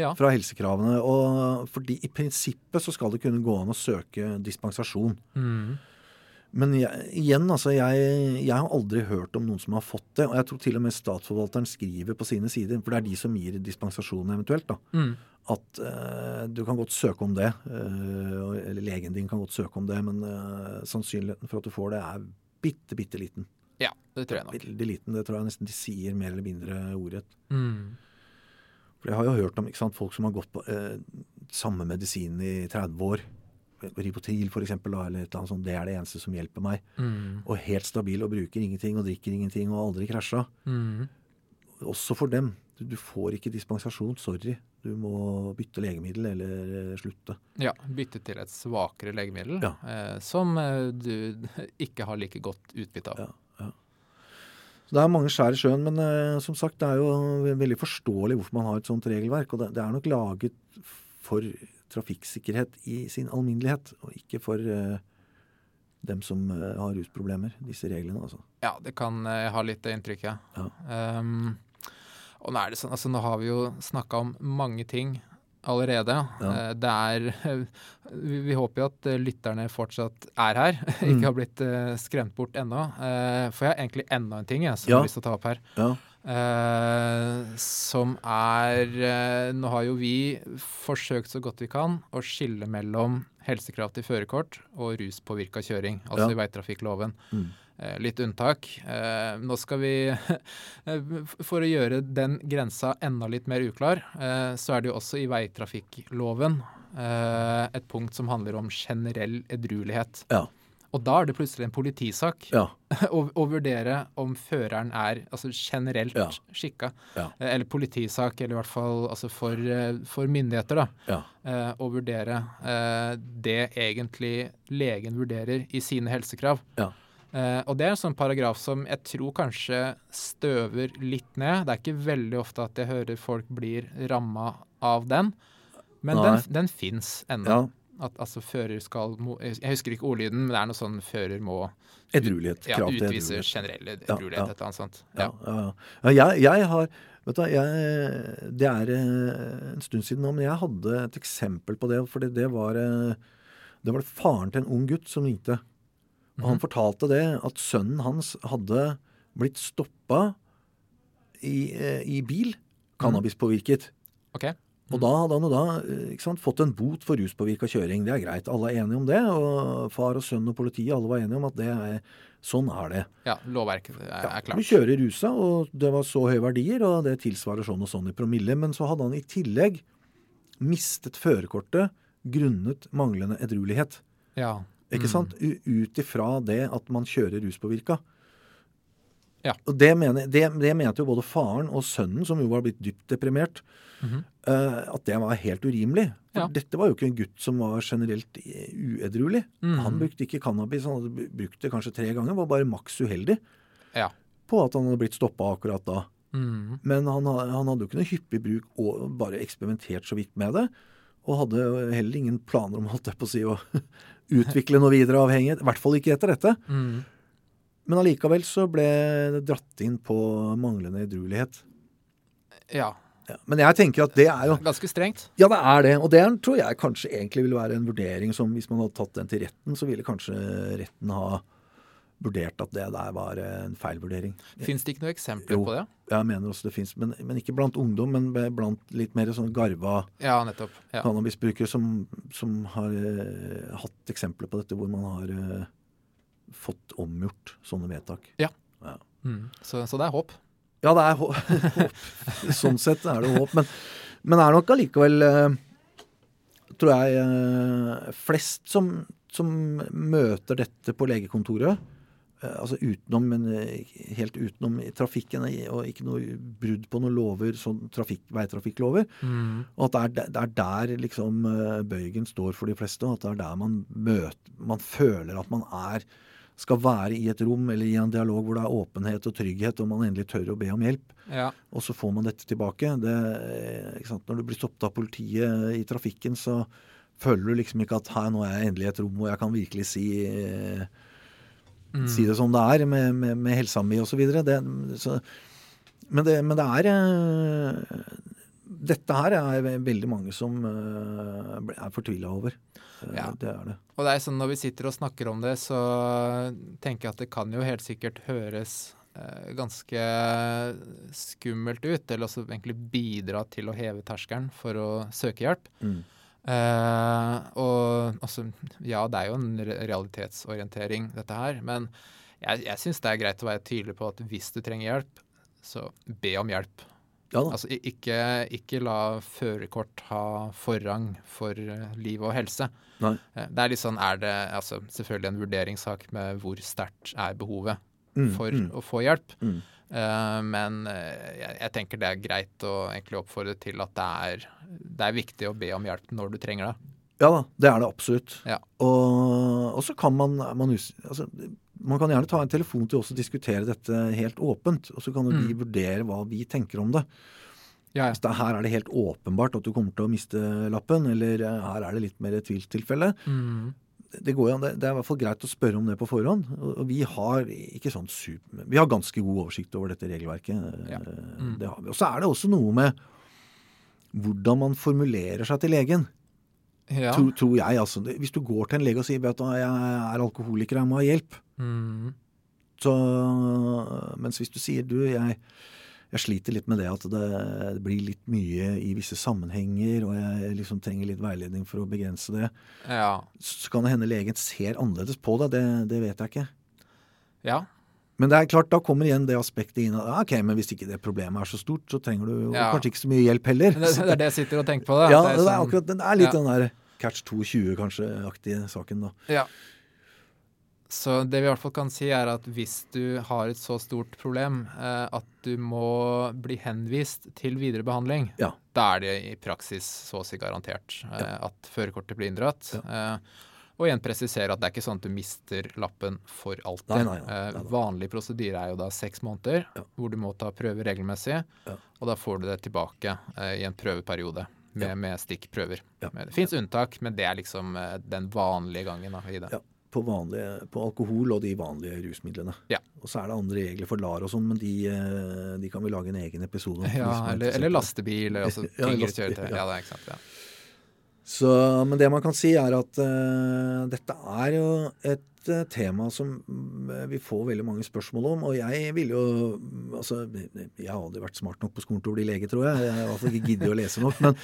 Ja.
fra helsekravene. Og fordi i prinsippet så skal det kunne gå an å søke dispensasjon.
Mm.
Men jeg, igjen, altså, jeg, jeg har aldri hørt om noen som har fått det. Og jeg tror til og med statsforvalteren skriver på sine sider, for det er de som gir dispensasjon eventuelt, da,
Mm.
at eh, du kan godt søke om det. eh, og- eller legen din kan godt søke om det, men eh, sannsynligheten for at du får det, er bitte, bitte liten.
Ja, det tror jeg nok.
Veldig liten. Det tror jeg nesten de sier mer eller mindre ordrett.
Mm.
For jeg har jo hørt om ikke sant, folk som har gått på eh, samme medisin i 30 år. Ribotril, for eksempel, da, eller et eller annet sånt. Det er det eneste som hjelper meg.
Mm.
og helt stabil og bruker ingenting og drikker ingenting og aldri krasja.
Mm.
Også for dem. Du, du får ikke dispensasjon. Sorry. Du må bytte legemiddel eller eh, slutte.
Ja, bytte til et svakere legemiddel
Ja.
eh, som eh, du ikke har like godt utbytte av.
Ja. Så det er mange skjær i sjøen, men eh, som sagt, det er jo ve- veldig forståelig hvorfor man har et sånt regelverk. Og det, det er nok laget for trafikksikkerhet i sin alminnelighet, og ikke for eh, dem som eh, har rusproblemer, disse reglene, altså.
Ja, det kan eh, jeg ha litt det inntrykket.
Ja.
Ehm, og nå er det sånn, altså nå har vi jo snakka om mange ting allerede.
Ja.
Eh, det er vi, vi håper jo at eh, lytterne fortsatt er her,
Mm.
ikke har blitt eh, skremt bort ennå. Eh, for jeg har egentlig enda en ting jeg, som jeg
Ja.
har lyst til å ta opp her.
Ja.
Eh, som er eh, Nå har jo vi forsøkt så godt vi kan å skille mellom helsekrav til førerkort og ruspåvirka kjøring, altså
Ja.
i veitrafikkloven.
Mm.
eh, litt unntak. Eh, nå skal vi For å gjøre den grensa enda litt mer uklar, eh, så er det jo også i veitrafikkloven eh, et punkt som handler om generell edruelighet.
Ja.
Og da er det plutselig en politisak
Ja.
å, å vurdere om føreren er altså generelt
Ja.
skikka.
Ja.
Eh, Eller politisak, eller i hvert fall altså for, eh, for myndigheter, da.
Ja.
eh, Å vurdere eh, det egentlig legen vurderer i sine helsekrav.
Ja.
Eh, og det er en sånn paragraf som jeg tror kanskje støver litt ned. Det er ikke veldig ofte at jeg hører folk blir ramma av den, men
Nei.
den, den fins ennå.
ja.
At altså fører skal mo- Jeg husker ikke ordlyden, men det er noe sånn fører må
Edruelighet.
ja,
krav til
utvise
edruelighet.
generell
Ja,
edruelighet,
ja.
et eller annet sånt. Ja.
Ja, ja, ja. ja jeg, jeg har Vet du, hva, jeg, Det er eh, en stund siden nå, men jeg hadde et eksempel på det. For det var eh, det var faren til en ung gutt som ringte. Og han fortalte det, at sønnen hans hadde blitt stoppa i, eh, i bil, cannabispåvirket.
OK.
Og da hadde han jo da eh, ikke sant, fått en bot for ruspåvirka kjøring. Det er greit. Alle er enige om det. Og far og sønn og politiet alle var enige om at det er, sånn er det.
Ja, lovverket er, er
Du
klart.
kjører rusa, og det var så høye verdier, og det tilsvarer sånn og sånn i promille. Men så hadde han i tillegg mistet førerkortet grunnet manglende edruelighet.
Ja.
Ikke
Mm.
sant? U- Ut ifra det at man kjører ruspåvirka.
Ja.
Og det, mener, det, det mente jo både faren og sønnen, som jo var blitt dypt deprimert,
Mhm.
eh, at det var helt urimelig. For
Ja.
Dette var jo ikke en gutt som var generelt eh, uedruelig.
Mhm.
Han brukte ikke cannabis, han hadde br- brukt det kanskje tre ganger, var bare maks uheldig
Ja.
på at han hadde blitt stoppa akkurat da.
Mm.
Men han, ha- han hadde jo ikke noe hyppig bruk og bare eksperimentert så vidt med det. Og hadde heller ingen planer om holdt jeg på å si, å utvikle noe videre avhengighet. I hvert fall ikke etter dette.
Mm.
Men allikevel så ble det dratt inn på manglende edruelighet.
ja.
Ja. Men jeg tenker at det er jo
Ganske strengt.
Ja, det er det. Og det er- tror jeg kanskje egentlig ville være en vurdering som hvis man hadde tatt den til retten, så ville kanskje retten ha vurdert at det der var en feilvurdering.
Fins det ikke noen eksempler
Jo.
på det?
Jeg mener også det fins, men, men ikke blant ungdom, men blant litt mer sånn garva
Ja, nettopp. Ja.
cannabisbrukere som, som har eh, hatt eksempler på dette, hvor man har eh, fått omgjort sånne vedtak.
Mm. Så, så det er håp.
Ja, det er hå- håp. sånn sett er det håp. Men, men det er nok allikevel, eh, tror jeg, eh, flest som, som møter dette på legekontoret. eh, Altså utenom, men eh, helt utenom i trafikken, eh, og ikke noe brudd på noen lover, sånn trafikk, veitrafikklover.
Mm.
Og at det er, der- det er der liksom eh, bøygen står for de fleste, og at det er der man møter Man føler at man er skal være i et rom eller i en dialog hvor det er åpenhet og trygghet, og man endelig tør å be om hjelp.
Ja.
Og så får man dette tilbake. Det, eh, ikke sant? Når du blir stoppet av politiet i trafikken, så føler du liksom ikke at her nå er jeg endelig i et rom hvor jeg kan virkelig si eh,
Mm.
si det som det er, med, med, med helsa mi osv. Men, det- men det er eh, Dette her er ve- veldig mange som eh, ble- er fortvila over. Eh,
Ja.
Det er det.
Og det er sånn når vi sitter og snakker om det, så tenker jeg at det kan jo helt sikkert høres eh, ganske skummelt ut, eller også egentlig bidra til å heve terskelen for å søke hjelp.
Mm.
Eh, og altså, ja, det er jo en re- realitetsorientering, dette her, men jeg, jeg syns det er greit å være tydelig på at hvis du trenger hjelp, så be om hjelp.
Ja da.
Altså i- ikke, ikke la førerkort ha forrang for eh, liv og helse.
Nei.
Eh, Det er litt sånn, er det altså, selvfølgelig en vurderingssak med hvor sterkt er behovet
Mm,
for
mm,
å få hjelp.
mm.
Eh, men eh, jeg, jeg tenker det er greit å egentlig oppfordre til at det er, det er viktig å be om hjelp når du trenger det.
Ja da, det er det absolutt.
Ja.
Og, og så kan man man, hus- altså, man kan gjerne ta en telefon til oss og diskutere dette helt åpent. Og så kan jo
Mm.
vi vurdere hva vi tenker om det.
Ja,
Hvis det her er det helt åpenbart at du kommer til å miste lappen, eller eh, her er det litt mer tvilstilfelle.
Mm.
det går jo an, det, det er i hvert fall greit å spørre om det på forhånd. Og og vi har ikke sånn super, men vi har ganske god oversikt over dette regelverket.
Ja.
Eh,
Mm.
Det har vi. Og så er det også noe med hvordan man formulerer seg til legen.
ja.
Tror, tror jeg, altså. Det- Hvis du går til en lege og sier vet du, hva, jeg er alkoholiker, jeg må ha hjelp.
Mm.
Så, mens hvis du sier du, jeg, jeg sliter litt med det at det, det blir litt mye i visse sammenhenger, og jeg liksom trenger litt veiledning for å begrense det,
ja.
så kan det hende legen ser annerledes på deg. Det, det vet jeg ikke.
Ja.
Men det er klart, da kommer igjen det aspektet inn at ah, ok, men hvis ikke det problemet er så stort, så trenger du jo
Ja.
kanskje ikke så mye hjelp heller.
Men Det, det er det jeg sitter og tenker på. Da.
ja,
At
det er
sånn-
akkurat, den er litt
ja.
den der catch 220 kanskje-aktige saken, da.
Ja. Så det vi i hvert fall kan si, er at hvis du har et så stort problem eh, at du må bli henvist til videre behandling,
Ja.
da er det i praksis så å si garantert eh, at førerkortet blir inndratt. Eh, og igjen presisere at det er ikke sånn at du mister lappen for alltid.
Nei, nei, nei, nei, nei.
Eh, vanlig prosedyre er jo da seks måneder,
Ja.
hvor du må ta prøver regelmessig.
Ja.
Og da får du det tilbake eh, i en prøveperiode med,
Ja.
med stikkprøver.
Ja.
Men Det fins unntak, men det er liksom eh, den vanlige gangen da, i det.
Ja, på, vanlige, på alkohol og de vanlige rusmidlene.
Ja.
Og så er det andre regler for LAR og sånn, men de, eh, de kan vi lage en egen episode om. for de som
Ja,
er
eller,
interessert i
eller
det.
lastebil, eller altså
Ja,
tyngre
lastebil,
kjøretøy.
ja.
Ja, det er ikke sant. Ja.
Så, men det man kan si, er at eh, dette er jo et eh, tema som mm, vi får veldig mange spørsmål om. Og jeg ville jo mm, Altså, jeg har aldri vært smart nok på skolen til å bli lege, tror jeg. Jeg har i hvert fall ikke giddet å lese nok. Men,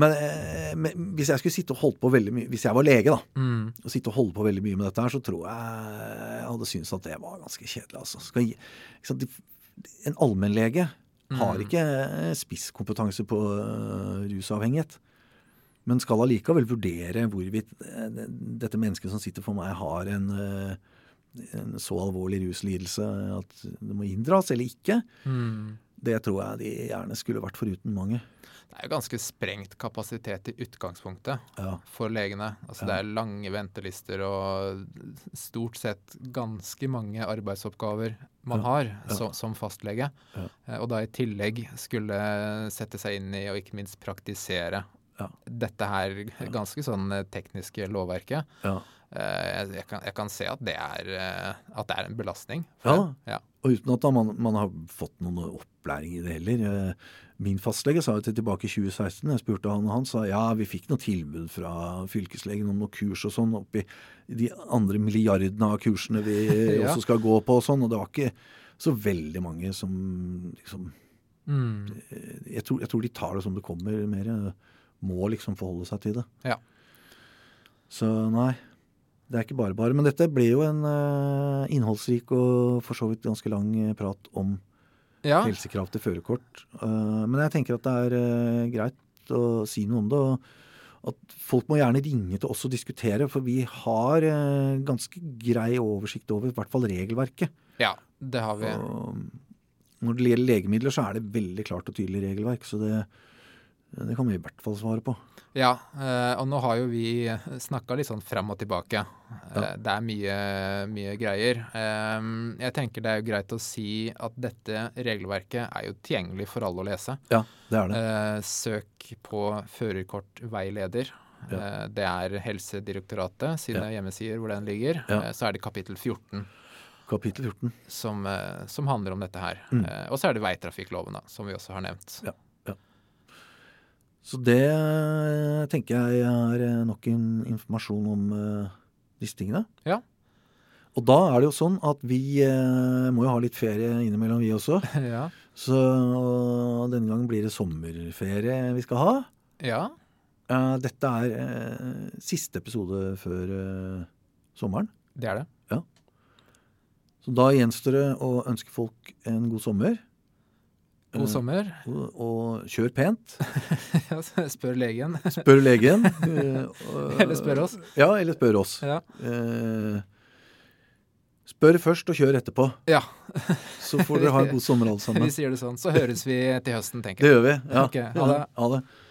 men, eh, men hvis jeg skulle sitte og holdt på veldig mye Hvis jeg var lege, da,
Mm.
å sitte og holde på veldig mye med dette her, så tror jeg jeg hadde syntes at det var ganske kjedelig. Altså. Skal, gi- ikke sant? de- En allmennlege har ikke eh, spisskompetanse på øh, rusavhengighet. Men skal allikevel vurdere hvorvidt øh, dette mennesket som sitter for meg, har en, øh, en så alvorlig ruslidelse at det må inndras eller ikke.
Mm.
Det tror jeg de gjerne skulle vært foruten mange.
Det er jo ganske sprengt kapasitet i utgangspunktet
Ja.
for legene. Altså, Det er lange ventelister og stort sett ganske mange arbeidsoppgaver man har som, som fastlege.
Ja.
Eh, Og da i tillegg skulle sette seg inn i og ikke minst praktisere
Ja.
dette her ganske sånn eh, tekniske lovverket.
ja.
Eh, Jeg, jeg, kan, jeg kan se at det er, eh, at det er en belastning.
Ja.
dem. ja.
Og uten at da man, man har fått noen opplæring i det heller. Eh, Min fastlege sa jo til tilbake i 2016, jeg spurte han, og han sa ja, vi fikk noe tilbud fra fylkeslegen om noe kurs og sånn oppi de andre milliardene av kursene vi
Ja.
også skal gå på og sånn, og det var ikke så veldig mange som liksom
Mm.
eh, Jeg tror, jeg tror de tar det som det kommer, mer eh, må liksom forholde seg til det.
Ja.
Så nei. Det er ikke bare bare. Men dette ble jo en eh, innholdsrik og for så vidt ganske lang eh, prat om
Ja,
helsekrav til førerkort. Eh, Men jeg tenker at det er eh, greit å si noe om det. og At folk må gjerne ringe til oss og diskutere, for vi har eh, ganske grei oversikt over i hvert fall regelverket.
ja, det har vi.
Og når det gjelder legemidler, så er det veldig klart og tydelig regelverk. Så det, det kan vi i hvert fall svare på.
Ja, eh, og nå har jo vi snakka litt sånn frem og tilbake. Eh, Det er mye, mye greier. Eh, Jeg tenker det er jo greit å si at dette regelverket er jo tilgjengelig for alle å lese.
Ja, det er det.
Eh, Søk på førerkortveileder.
Ja.
Eh, Det er Helsedirektoratet sine hjemmesider hvor den ligger.
Ja.
Eh, Så er det kapittel 14
Kapittel 14.
som, eh, som handler om dette her.
Mm.
Eh, Og så er det veitrafikkloven, da, som vi også har nevnt.
Så det eh, tenker jeg er eh, nok en informasjon om eh, disse tingene.
Ja.
Og da er det jo sånn at vi eh, må jo ha litt ferie innimellom, vi også.
ja.
Så denne gangen blir det sommerferie vi skal ha.
ja.
Eh, dette er eh, siste episode før eh, sommeren.
Det er det.
Så da gjenstår det å ønske folk en god sommer. Eh,
God sommer.
og- og kjør pent.
Ja, Spør legen.
Spør legen. eh, og-
Eller spør oss.
Ja, eller spør oss.
Ja.
Eh, spør først og kjør etterpå.
ja,
Så får dere ha en god sommer alle sammen.
vi sier det sånn. Så høres vi til høsten,
Det
tenker jeg.
gjør vi. Ja.
Ok, ha det.
Ha det.